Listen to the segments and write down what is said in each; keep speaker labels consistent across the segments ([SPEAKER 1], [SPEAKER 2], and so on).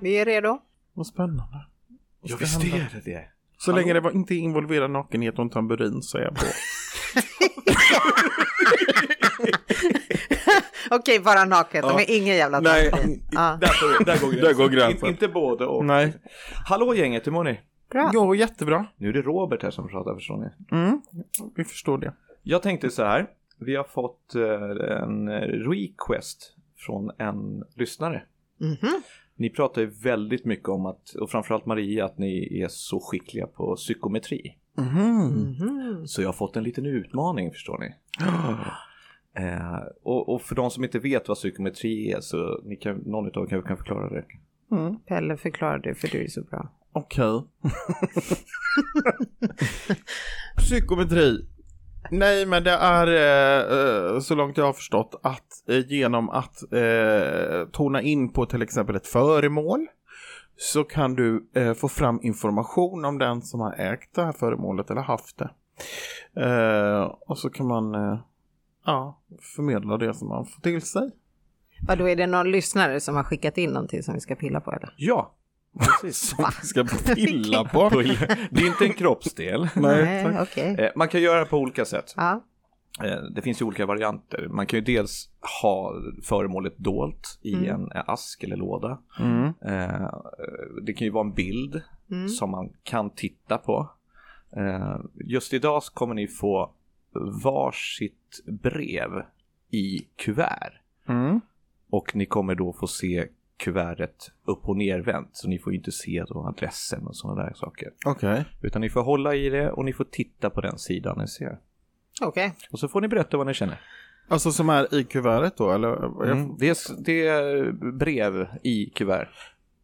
[SPEAKER 1] Vi är redo.
[SPEAKER 2] Vad spännande. Vad ska
[SPEAKER 3] Ja, visst
[SPEAKER 2] hända?
[SPEAKER 3] är det det.
[SPEAKER 2] Så länge det var inte involverad nakenhet och en tamburin så är jag på.
[SPEAKER 1] Okej, bara naket. De
[SPEAKER 3] Ja.
[SPEAKER 1] är ingen jävla
[SPEAKER 3] Nej,
[SPEAKER 1] tampong. Ja.
[SPEAKER 3] där, går- där går gränsen.
[SPEAKER 2] Där går gränsen.
[SPEAKER 3] In, inte både och.
[SPEAKER 2] Nej.
[SPEAKER 3] Hallå gänget, hur mår ni?
[SPEAKER 1] Bra.
[SPEAKER 2] Jo, jättebra.
[SPEAKER 3] Nu är det Robert här som pratar förstår ni.
[SPEAKER 2] Mm. Vi förstår det.
[SPEAKER 3] Jag tänkte så här. Vi har fått eh, en eh, request från en lyssnare.
[SPEAKER 1] Mhm.
[SPEAKER 3] Ni pratar ju väldigt mycket om att, och framförallt Maria, att ni är så skickliga på psykometri.
[SPEAKER 2] Mhm.
[SPEAKER 1] Mhm.
[SPEAKER 3] Så jag har fått en liten utmaning förstår ni. Eh, och, och för de som inte vet vad psykometri är så ni kan, någon utav er kanske kan förklara det.
[SPEAKER 2] Mm.
[SPEAKER 1] Pelle, förklara det för du är så bra.
[SPEAKER 2] Okej. Psykometri. Nej, men det är eh, eh, så långt jag har förstått att eh, genom att eh, tona in på till exempel ett föremål så kan du eh, få fram information om den som har ägt det här föremålet eller haft det. Eh, och så kan man eh, ja, förmedla det som man får till sig.
[SPEAKER 1] Vadå, är det någon lyssnare som har skickat in någonting som vi ska pilla på eller?
[SPEAKER 3] Ja, precis.
[SPEAKER 2] Som vi ska pilla på.
[SPEAKER 3] det är inte en kroppsdel.
[SPEAKER 1] Nej, okej.
[SPEAKER 3] Eh, man kan göra på olika sätt.
[SPEAKER 1] Ja.
[SPEAKER 3] Eh, Det finns ju olika varianter. Man kan ju dels ha föremålet dolt i
[SPEAKER 1] Mm.
[SPEAKER 3] en eh, ask eller låda.
[SPEAKER 2] Mm.
[SPEAKER 3] Eh, Det kan ju vara en bild
[SPEAKER 1] Mm.
[SPEAKER 3] som man kan titta på. Eh, Just idag så kommer ni få varsitt brev i kuvert
[SPEAKER 2] Mm.
[SPEAKER 3] och ni kommer då få se kuvertet upp och nervänt så ni får ju inte se då adressen och sådana där saker.
[SPEAKER 2] Okej.
[SPEAKER 3] Utan ni får hålla i det och ni får titta på den sidan ni ser.
[SPEAKER 1] Okej.
[SPEAKER 3] Och så får ni berätta vad ni känner.
[SPEAKER 2] Alltså som är i kuvertet då, eller?
[SPEAKER 3] Mm. Det, är, det är brev i kuvert.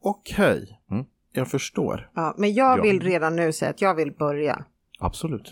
[SPEAKER 2] Okej,
[SPEAKER 3] Mm.
[SPEAKER 2] jag förstår.
[SPEAKER 1] Ja, men jag
[SPEAKER 3] Ja.
[SPEAKER 1] vill redan nu säga att jag vill börja.
[SPEAKER 3] Absolut.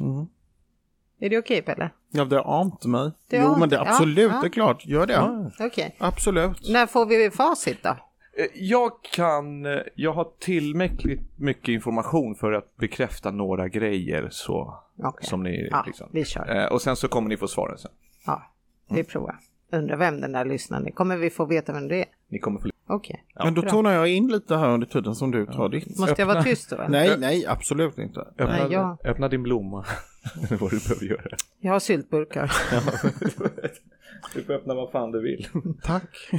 [SPEAKER 1] Är det okej Pelle?
[SPEAKER 2] Ja, det har ant mig.
[SPEAKER 1] Det
[SPEAKER 2] jo,
[SPEAKER 1] har
[SPEAKER 2] men
[SPEAKER 1] ant-
[SPEAKER 2] det
[SPEAKER 1] ja,
[SPEAKER 2] absolut,
[SPEAKER 1] ja.
[SPEAKER 2] det är klart. Gör det.
[SPEAKER 1] Okej.
[SPEAKER 2] Absolut.
[SPEAKER 1] När får vi facit då?
[SPEAKER 3] Eh, Jag kan, eh, jag har tillräckligt mycket information för att bekräfta några grejer så
[SPEAKER 1] Okej.
[SPEAKER 3] som ni
[SPEAKER 1] Ja,
[SPEAKER 3] liksom. Mm.
[SPEAKER 1] vi kör.
[SPEAKER 3] Eh, och sen så kommer ni få svaren sen.
[SPEAKER 1] Ja, vi provar. Undrar vem den där lyssnaren är. Kommer vi få veta vem det är?
[SPEAKER 3] Ni kommer få...
[SPEAKER 1] Okej.
[SPEAKER 2] men då tonar jag in lite här under tiden som du tar ditt.
[SPEAKER 1] Måste jag vara tyst då? eller?
[SPEAKER 2] Nej, nej, absolut inte.
[SPEAKER 3] Öppna,
[SPEAKER 1] Nej, jag-
[SPEAKER 3] öppna din blomma. det är vad du behöver göra.
[SPEAKER 1] Jag har syltburkar.
[SPEAKER 3] Du får öppna vad fan du vill.
[SPEAKER 2] Tack.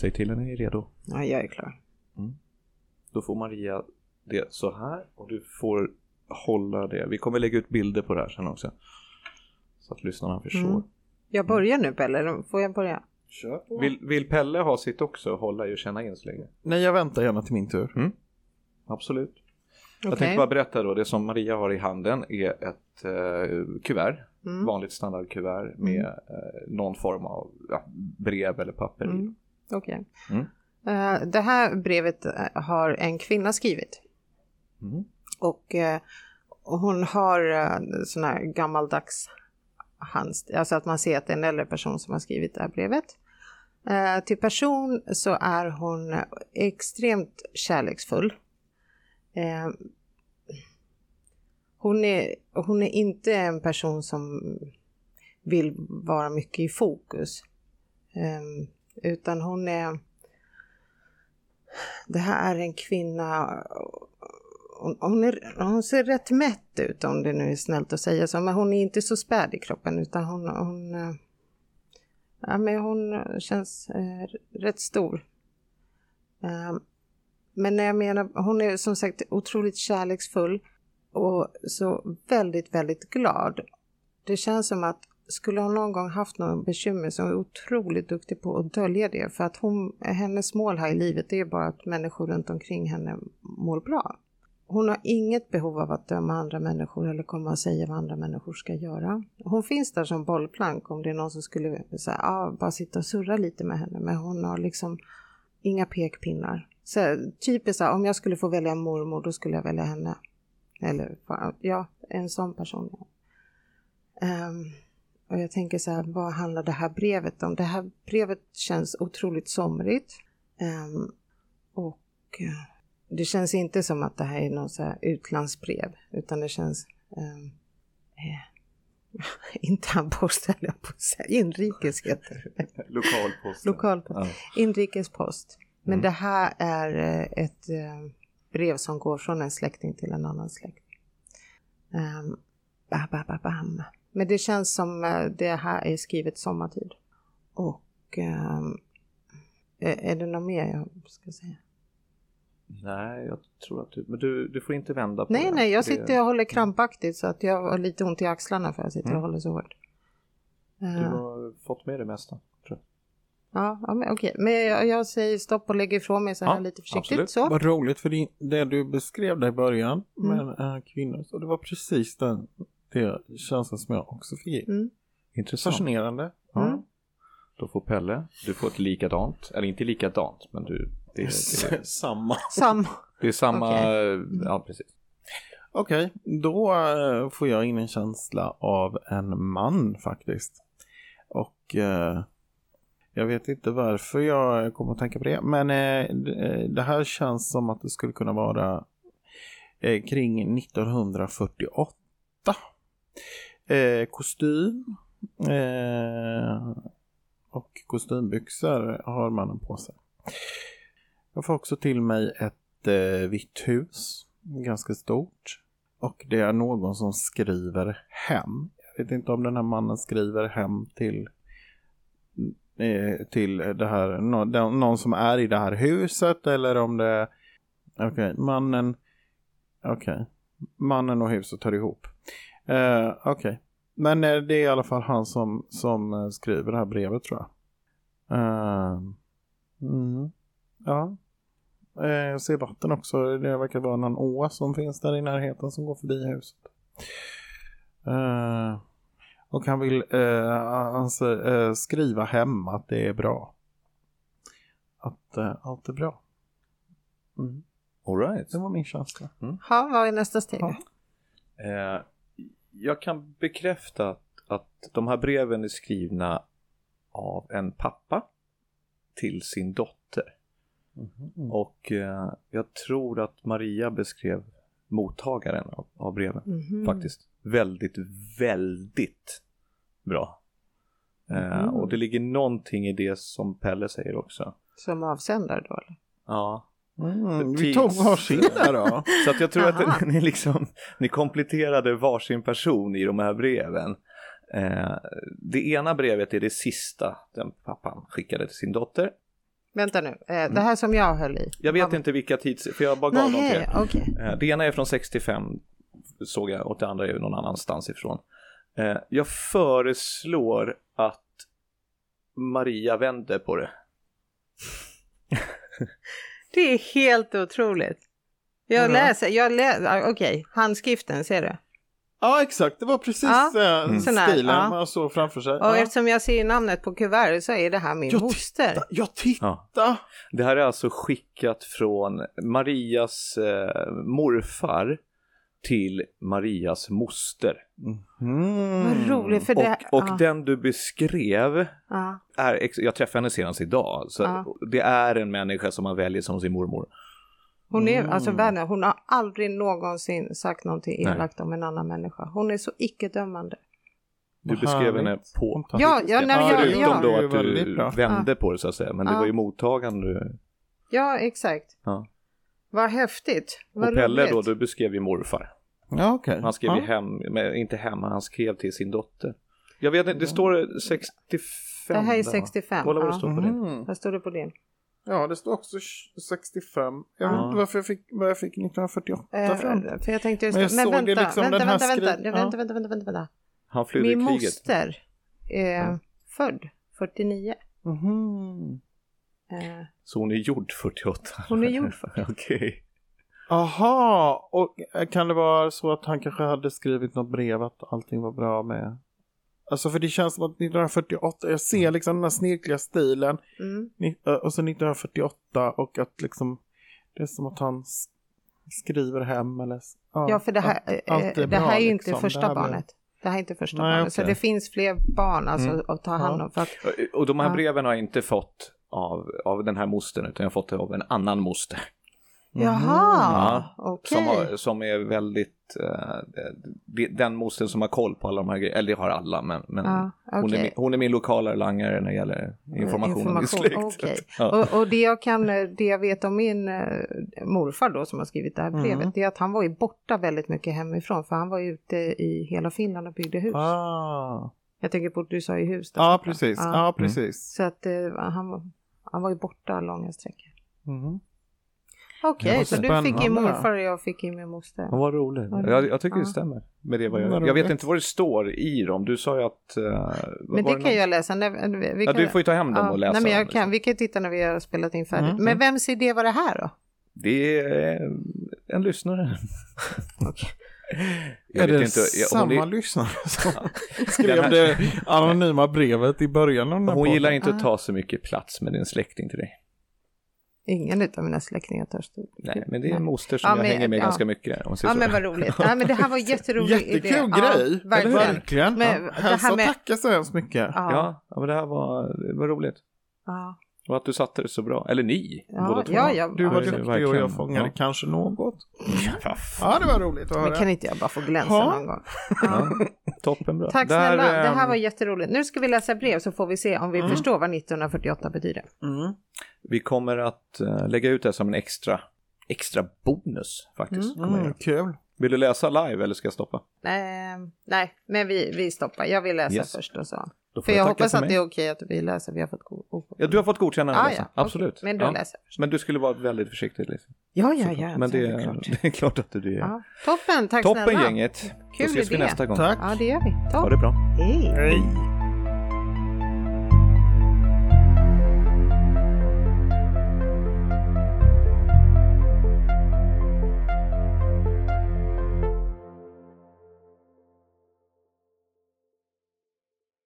[SPEAKER 3] Säg till när ni är redo.
[SPEAKER 1] Ja, jag är klar.
[SPEAKER 3] Då får Maria det så här och du får hålla det. Vi kommer lägga ut bilder på det här sen också. Så att lyssnarna förstår.
[SPEAKER 1] Mm. Jag börjar nu Pelle, eller får jag börja?
[SPEAKER 2] Kör på.
[SPEAKER 3] Vill, vill Pelle ha sitt också? Hålla i och känna in så länge?
[SPEAKER 2] Nej, jag väntar gärna till min tur.
[SPEAKER 3] Absolut. Jag
[SPEAKER 1] Okej.
[SPEAKER 3] tänkte bara berätta då, det som Maria har i handen är ett eh, kuvert,
[SPEAKER 1] Mm.
[SPEAKER 3] vanligt standardkuvert med eh, någon form av ja, brev eller papper i.
[SPEAKER 1] Mm. Okej.
[SPEAKER 3] Mm.
[SPEAKER 1] Eh, det här brevet eh, har en kvinna skrivit.
[SPEAKER 3] Mm.
[SPEAKER 1] Och eh, hon har eh, sån här gammaldags handstil, alltså att man ser att det är en äldre person som har skrivit det här brevet. Eh, till person så är hon extremt kärleksfull. Eh, hon, är, hon är inte en person som vill vara mycket i fokus. Ehm, utan hon är... Det här är en kvinna... Hon, hon, är, hon ser rätt mätt ut om det nu är snällt att säga så. Men hon är inte så späd i kroppen utan hon... hon eh, ja, men hon känns eh, rätt stor. Ehm, men jag menar, hon är som sagt otroligt kärleksfull och så väldigt, väldigt glad. Det känns som att skulle hon någon gång haft någon bekymmer så är hon otroligt duktig på att dölja det. För att hon, hennes mål här i livet det är bara att människor runt omkring henne mår bra. Hon har inget behov av att döma andra människor eller komma och säga vad andra människor ska göra. Hon finns där som bollplank om det är någon som skulle säga, ah, bara sitta och surra lite med henne. Men hon har liksom inga pekpinnar. Så, typiskt så här, om jag skulle få välja mormor då skulle jag välja henne. Eller fa- ja, en sån person. Ehm, och jag tänker så här, vad handlar det här brevet om? Det här brevet känns otroligt somrigt. Ehm, och eh, det känns inte som att det här är något så här utlandsbrev, utan det känns ehm, eh, internpost höll jag på att säga, inrikes heter det.
[SPEAKER 3] Lokalpost.
[SPEAKER 1] Lokalpost.
[SPEAKER 3] Ja.
[SPEAKER 1] Inrikespost. Men
[SPEAKER 2] Mm.
[SPEAKER 1] det här är eh, ett eh, brev som går från en släkting till en annan släkting. Ehm, ba, ba, ba, bam. Men det känns som eh, det här är skrivet sommartid. Och ehm, eh, är är det något mer jag ska säga?
[SPEAKER 3] Nej, jag tror att du... Men du, du får inte vända på
[SPEAKER 1] Nej,
[SPEAKER 3] den.
[SPEAKER 1] nej, jag
[SPEAKER 3] Det-
[SPEAKER 1] sitter och håller krampaktigt så att jag har lite ont i axlarna för jag sitter
[SPEAKER 3] Mm.
[SPEAKER 1] och håller så hårt.
[SPEAKER 3] Du
[SPEAKER 1] Eh,
[SPEAKER 3] har fått med det mesta, tror jag.
[SPEAKER 1] Ja, ja men okej. Men jag, jag säger stopp och lägger ifrån mig så här
[SPEAKER 3] Ja,
[SPEAKER 1] lite försiktigt
[SPEAKER 3] absolut.
[SPEAKER 1] så.
[SPEAKER 2] Vad roligt för det, det du beskrev där i början
[SPEAKER 1] Mm.
[SPEAKER 2] med äh, kvinnor. Så det var precis den det känslan som jag också fick.
[SPEAKER 1] Mm.
[SPEAKER 3] Intressant.
[SPEAKER 2] Fascinerande.
[SPEAKER 3] Ja.
[SPEAKER 1] Mm.
[SPEAKER 3] Då får Pelle, du får ett likadant, eller inte likadant, men du, det, det,
[SPEAKER 2] Samma.
[SPEAKER 1] Samma.
[SPEAKER 3] det är samma,
[SPEAKER 1] Okej.
[SPEAKER 3] ja precis.
[SPEAKER 2] Okej, då eh, får jag in en känsla av en man faktiskt. Och eh, jag vet inte varför jag kommer att tänka på det, men eh, d- eh, det här känns som att det skulle kunna vara eh, kring 1948. Eh, kostym eh, och kostymbyxor har mannen på sig. Jag får också till mig ett ett eh, vitt hus, ganska stort. Och det är någon som skriver hem. Jag vet inte om den här mannen skriver hem till eh, till det här, nå- den- någon som är i det här huset eller om det okej, mannen okej, mannen och huset hör ihop. Eh, okej, men eh, det är i alla fall han som, som eh, skriver det här brevet tror jag. Eh, mm, ja, Eh, Jag ser vatten också. Det verkar vara någon å som finns där i närheten som går förbi huset. Eh, och han vill eh, han säger, eh, skriva hem att det är bra. Att eh, allt är bra. Mm.
[SPEAKER 3] Alright.
[SPEAKER 2] Det var min känsla.
[SPEAKER 1] Ja, vad är nästa steg?
[SPEAKER 2] Ja.
[SPEAKER 3] Mm. Eh, jag kan bekräfta att, att de här breven är skrivna av en pappa till sin dotter.
[SPEAKER 2] Mm-hmm.
[SPEAKER 3] Och eh, jag tror att Maria beskrev mottagaren av, av breven.
[SPEAKER 1] Mhm.
[SPEAKER 2] Mm.
[SPEAKER 3] faktiskt. Väldigt, väldigt bra.
[SPEAKER 2] Mm.
[SPEAKER 3] Eh,
[SPEAKER 1] Mhm.
[SPEAKER 3] och det ligger någonting i det som Pelle säger också.
[SPEAKER 1] Som avsändare då? eller?
[SPEAKER 3] Ja.
[SPEAKER 2] Mm, vi
[SPEAKER 3] Tids.
[SPEAKER 2] tog varsin där då.
[SPEAKER 3] Så att jag tror att
[SPEAKER 1] Aha.
[SPEAKER 3] ni, liksom, ni kompletterade varsin person i de här breven. Eh, det ena brevet är det sista den pappan skickade till sin dotter.
[SPEAKER 1] Vänta nu, eh, det här som jag höll i.
[SPEAKER 3] Mm. Jag vet inte vilka tids... För jag bara gav dem till er.
[SPEAKER 1] Nej, okej.
[SPEAKER 3] Eh, Det ena är från 65 såg jag och det andra är ju någon annanstans ifrån. Eh, Jag föreslår att Maria vänder på det.
[SPEAKER 1] Det är helt otroligt. Jag
[SPEAKER 2] Ja.
[SPEAKER 1] läser, jag läser, ah, okej, handskriften, ser du?
[SPEAKER 2] Ja, exakt. Det var precis
[SPEAKER 1] Ja,
[SPEAKER 2] eh,
[SPEAKER 3] mm.
[SPEAKER 1] sån här,
[SPEAKER 2] stilen
[SPEAKER 1] ja.
[SPEAKER 2] man såg framför sig.
[SPEAKER 1] Och eftersom jag ser namnet på kuvertet så är det här min
[SPEAKER 2] Jag
[SPEAKER 1] moster.
[SPEAKER 2] Ja, jag tittar!
[SPEAKER 3] Ja. Det här är alltså skickat från Marias eh, morfar till Marias moster.
[SPEAKER 2] Mm.
[SPEAKER 1] Vad roligt för det...
[SPEAKER 3] Och, och
[SPEAKER 1] ja,
[SPEAKER 3] den du beskrev
[SPEAKER 1] ja.
[SPEAKER 3] är, ex- jag träffade henne senast idag, så
[SPEAKER 1] Ja.
[SPEAKER 3] det är en människa som man väljer som sin mormor.
[SPEAKER 1] Hon är,
[SPEAKER 2] Mm.
[SPEAKER 1] alltså världen, hon har aldrig någonsin sagt någonting
[SPEAKER 3] Nej.
[SPEAKER 1] elakt om en annan människa. Hon är så icke-dömande.
[SPEAKER 3] Du
[SPEAKER 2] Vad
[SPEAKER 3] beskrev henne
[SPEAKER 2] härligt.
[SPEAKER 3] på
[SPEAKER 2] Ja,
[SPEAKER 1] ja, ja, nej, ja,
[SPEAKER 3] Förutom
[SPEAKER 1] ja.
[SPEAKER 3] då
[SPEAKER 2] Det är
[SPEAKER 3] att du
[SPEAKER 2] väldigt bra.
[SPEAKER 3] vände på det så att säga. Men det
[SPEAKER 1] Ja.
[SPEAKER 3] var ju mottagaren du...
[SPEAKER 1] Ja, exakt.
[SPEAKER 3] Ja.
[SPEAKER 1] Vad häftigt. Vad
[SPEAKER 3] Och Pelle
[SPEAKER 1] roligt.
[SPEAKER 3] då, du beskrev ju morfar.
[SPEAKER 2] Ja, okej.
[SPEAKER 3] Han skrev
[SPEAKER 2] ja.
[SPEAKER 3] ju hem, men inte hemma, han skrev till sin dotter. Jag vet inte, det står 65.
[SPEAKER 1] Det här är
[SPEAKER 3] där, va?
[SPEAKER 1] 65.
[SPEAKER 3] Kolla vad det
[SPEAKER 1] ja.
[SPEAKER 3] står på din.
[SPEAKER 2] Mhm.
[SPEAKER 1] Vad står det på din?
[SPEAKER 2] Ja, det står också 65. Jag
[SPEAKER 1] Ja.
[SPEAKER 2] vet inte varför jag fick, var jag fick 1948
[SPEAKER 1] Eh,
[SPEAKER 2] fram.
[SPEAKER 1] för jag tänkte just
[SPEAKER 2] Men jag
[SPEAKER 1] men
[SPEAKER 2] såg
[SPEAKER 1] vänta,
[SPEAKER 2] det liksom,
[SPEAKER 1] vänta,
[SPEAKER 2] den här
[SPEAKER 1] vänta, vänta,
[SPEAKER 2] skri-
[SPEAKER 1] det- vänta, vänta, vänta, vänta, vänta.
[SPEAKER 3] Han flydde
[SPEAKER 1] Min
[SPEAKER 3] i kriget.
[SPEAKER 1] moster är född 49.
[SPEAKER 2] Mhm.
[SPEAKER 1] Eh,
[SPEAKER 3] Så hon är gjord 48.
[SPEAKER 1] hon är gjord 40.
[SPEAKER 3] Okej.
[SPEAKER 2] Aha, och eh, kan det vara så att han kanske hade skrivit något brev att allting var bra med? Alltså för det känns som att 1948, jag ser liksom den här snirkliga stilen
[SPEAKER 1] Mm.
[SPEAKER 2] ni- eh, och så 1948 och att liksom det är som att han s- skriver hem eller s-
[SPEAKER 1] Ja, för det här, eh,
[SPEAKER 2] allt är
[SPEAKER 1] det
[SPEAKER 2] bra,
[SPEAKER 1] här är ju inte
[SPEAKER 2] liksom.
[SPEAKER 1] första
[SPEAKER 2] Det här blir-
[SPEAKER 1] barnet. Det här är inte första
[SPEAKER 2] Nej,
[SPEAKER 1] barnet. Så
[SPEAKER 2] okej.
[SPEAKER 1] det finns fler barn alltså,
[SPEAKER 2] Mm.
[SPEAKER 1] att ta hand
[SPEAKER 2] Ja.
[SPEAKER 1] om. För att,
[SPEAKER 3] Och de här
[SPEAKER 1] Ja.
[SPEAKER 3] breven har jag inte fått av, av den här mostern, utan jag har fått det av en annan moster.
[SPEAKER 2] Mhm.
[SPEAKER 1] Jaha, okej.
[SPEAKER 3] Mm-hmm. Som, har, som är väldigt, eh, det- den moster som har koll på alla de här grejerna, eller det har alla men, men
[SPEAKER 1] Ja,
[SPEAKER 3] hon, är,
[SPEAKER 1] okej.
[SPEAKER 3] min- hon är min lokala langare när det gäller information, om min släkt.
[SPEAKER 1] okej.
[SPEAKER 3] Ja.
[SPEAKER 1] Och, och det, jag kan, eh, det jag vet om min eh, morfar då som har skrivit det här
[SPEAKER 3] Mm.
[SPEAKER 1] brevet, det är att han var ju borta väldigt mycket hemifrån, för han var ju ute i hela Finland och byggde hus.
[SPEAKER 2] Ah.
[SPEAKER 1] Jag tänker på att du sa ju hus där
[SPEAKER 2] Ja,
[SPEAKER 1] borta.
[SPEAKER 2] precis.
[SPEAKER 1] Ja.
[SPEAKER 2] Ja, precis.
[SPEAKER 1] Så att eh, han, var- han var ju borta långa sträckor.
[SPEAKER 2] Mhm.
[SPEAKER 1] Okej,
[SPEAKER 2] Ja,
[SPEAKER 1] så du fick ju
[SPEAKER 2] spännande.
[SPEAKER 1] morfar och jag fick ju min moster.
[SPEAKER 3] Ja, Vad roligt.
[SPEAKER 1] Vad
[SPEAKER 3] Jag,
[SPEAKER 1] roligt.
[SPEAKER 3] jag tycker
[SPEAKER 1] Ja.
[SPEAKER 3] det stämmer med det vad
[SPEAKER 2] Vad
[SPEAKER 3] jag Jag vet
[SPEAKER 2] roligt.
[SPEAKER 3] inte vad det står i dem. Du sa ju att... eh, var
[SPEAKER 1] Men det
[SPEAKER 3] någon-
[SPEAKER 1] kan jag läsa. När, vi, vi
[SPEAKER 3] Ja,
[SPEAKER 1] kan,
[SPEAKER 3] du får ju ta hem dem
[SPEAKER 1] ja,
[SPEAKER 3] och läsa
[SPEAKER 1] nej, men jag
[SPEAKER 3] dem. liksom.
[SPEAKER 1] kan, Vi kan titta när vi har spelat in färdigt.
[SPEAKER 2] Mm,
[SPEAKER 1] Men
[SPEAKER 2] mm.
[SPEAKER 1] vems idé var det här då?
[SPEAKER 3] Det är en lyssnare. Jag
[SPEAKER 2] Är
[SPEAKER 3] vet
[SPEAKER 2] det
[SPEAKER 3] inte, jag- hon
[SPEAKER 2] samma
[SPEAKER 3] är-
[SPEAKER 2] lyssnare som
[SPEAKER 3] Den
[SPEAKER 2] skrev
[SPEAKER 3] här-
[SPEAKER 2] det anonyma brevet i början av den här
[SPEAKER 3] Hon
[SPEAKER 2] podden?
[SPEAKER 3] gillar inte
[SPEAKER 1] Ah.
[SPEAKER 3] att ta så mycket plats med din släkting till dig.
[SPEAKER 1] Ingen av mina släktingar törs.
[SPEAKER 3] Nej, men det är en moster som
[SPEAKER 1] Ja,
[SPEAKER 3] jag
[SPEAKER 1] men-
[SPEAKER 3] hänger med
[SPEAKER 1] ja.
[SPEAKER 3] ganska mycket. Om man säger
[SPEAKER 1] Ja
[SPEAKER 3] typ så.
[SPEAKER 1] men vad roligt. Ja, men det här var en jätterolig idé.
[SPEAKER 2] Jättekul grej!
[SPEAKER 1] Ja, verkligen.
[SPEAKER 2] verkligen.
[SPEAKER 1] Men
[SPEAKER 2] Ja,
[SPEAKER 1] det här
[SPEAKER 2] Hälsa och
[SPEAKER 1] med-
[SPEAKER 2] tacka så hemskt mycket.
[SPEAKER 1] Ja, ja,
[SPEAKER 3] Ja, ja, men det här var, det var roligt.
[SPEAKER 1] ja,
[SPEAKER 3] Och att du satte det så bra. Eller ni, båda
[SPEAKER 1] ja,
[SPEAKER 3] två.
[SPEAKER 1] ja, ja.
[SPEAKER 2] Du var
[SPEAKER 3] det-
[SPEAKER 2] duktig och
[SPEAKER 3] verkligen.
[SPEAKER 2] jag fångade
[SPEAKER 3] Ja.
[SPEAKER 2] kanske något. Ja, det var roligt att höra.
[SPEAKER 1] Men kan inte jag bara få glänsa
[SPEAKER 2] Ja.
[SPEAKER 1] någon gång? Ja.
[SPEAKER 3] Toppen bra.
[SPEAKER 1] Tack snälla, det här var
[SPEAKER 3] ehm,
[SPEAKER 1] jätteroligt. Nu ska vi läsa brev så får vi se om vi
[SPEAKER 2] Mm.
[SPEAKER 1] förstår vad 1948 betyder.
[SPEAKER 2] Mm.
[SPEAKER 3] Vi kommer att eh, lägga ut det här som en extra, extra bonus faktiskt. kommer jag
[SPEAKER 2] Mm,
[SPEAKER 3] göra.
[SPEAKER 2] kul.
[SPEAKER 3] Vill du läsa live eller ska jag stoppa?
[SPEAKER 1] Eh, nej, men vi, vi stoppar. Jag vill läsa
[SPEAKER 3] Yes.
[SPEAKER 1] först och så.
[SPEAKER 3] Då får
[SPEAKER 1] För jag,
[SPEAKER 3] tacka
[SPEAKER 1] hoppas
[SPEAKER 3] för
[SPEAKER 1] att
[SPEAKER 3] mig.
[SPEAKER 1] det är okej att vi läser. Vi har fått go- ok-
[SPEAKER 3] Ja, du har fått godkännande
[SPEAKER 1] Ah,
[SPEAKER 3] att läsa.
[SPEAKER 1] ja.
[SPEAKER 3] Absolut.
[SPEAKER 1] Okej, Men då
[SPEAKER 3] ja.
[SPEAKER 1] läser jag först.
[SPEAKER 3] Men du skulle vara väldigt försiktig. Liksom.
[SPEAKER 1] Ja, ja, ja.
[SPEAKER 3] Men det,
[SPEAKER 1] så är det klart.
[SPEAKER 3] det är klart att du det är.
[SPEAKER 1] Ja. Toppen, tack snälla.
[SPEAKER 3] Toppen gänget. Då
[SPEAKER 1] Kul
[SPEAKER 3] ses vi
[SPEAKER 1] idé.
[SPEAKER 3] nästa gång.
[SPEAKER 2] Tack.
[SPEAKER 1] Ja, det gör vi.
[SPEAKER 3] Ha det
[SPEAKER 1] Topp.
[SPEAKER 3] bra.
[SPEAKER 1] Hej.
[SPEAKER 2] Hej.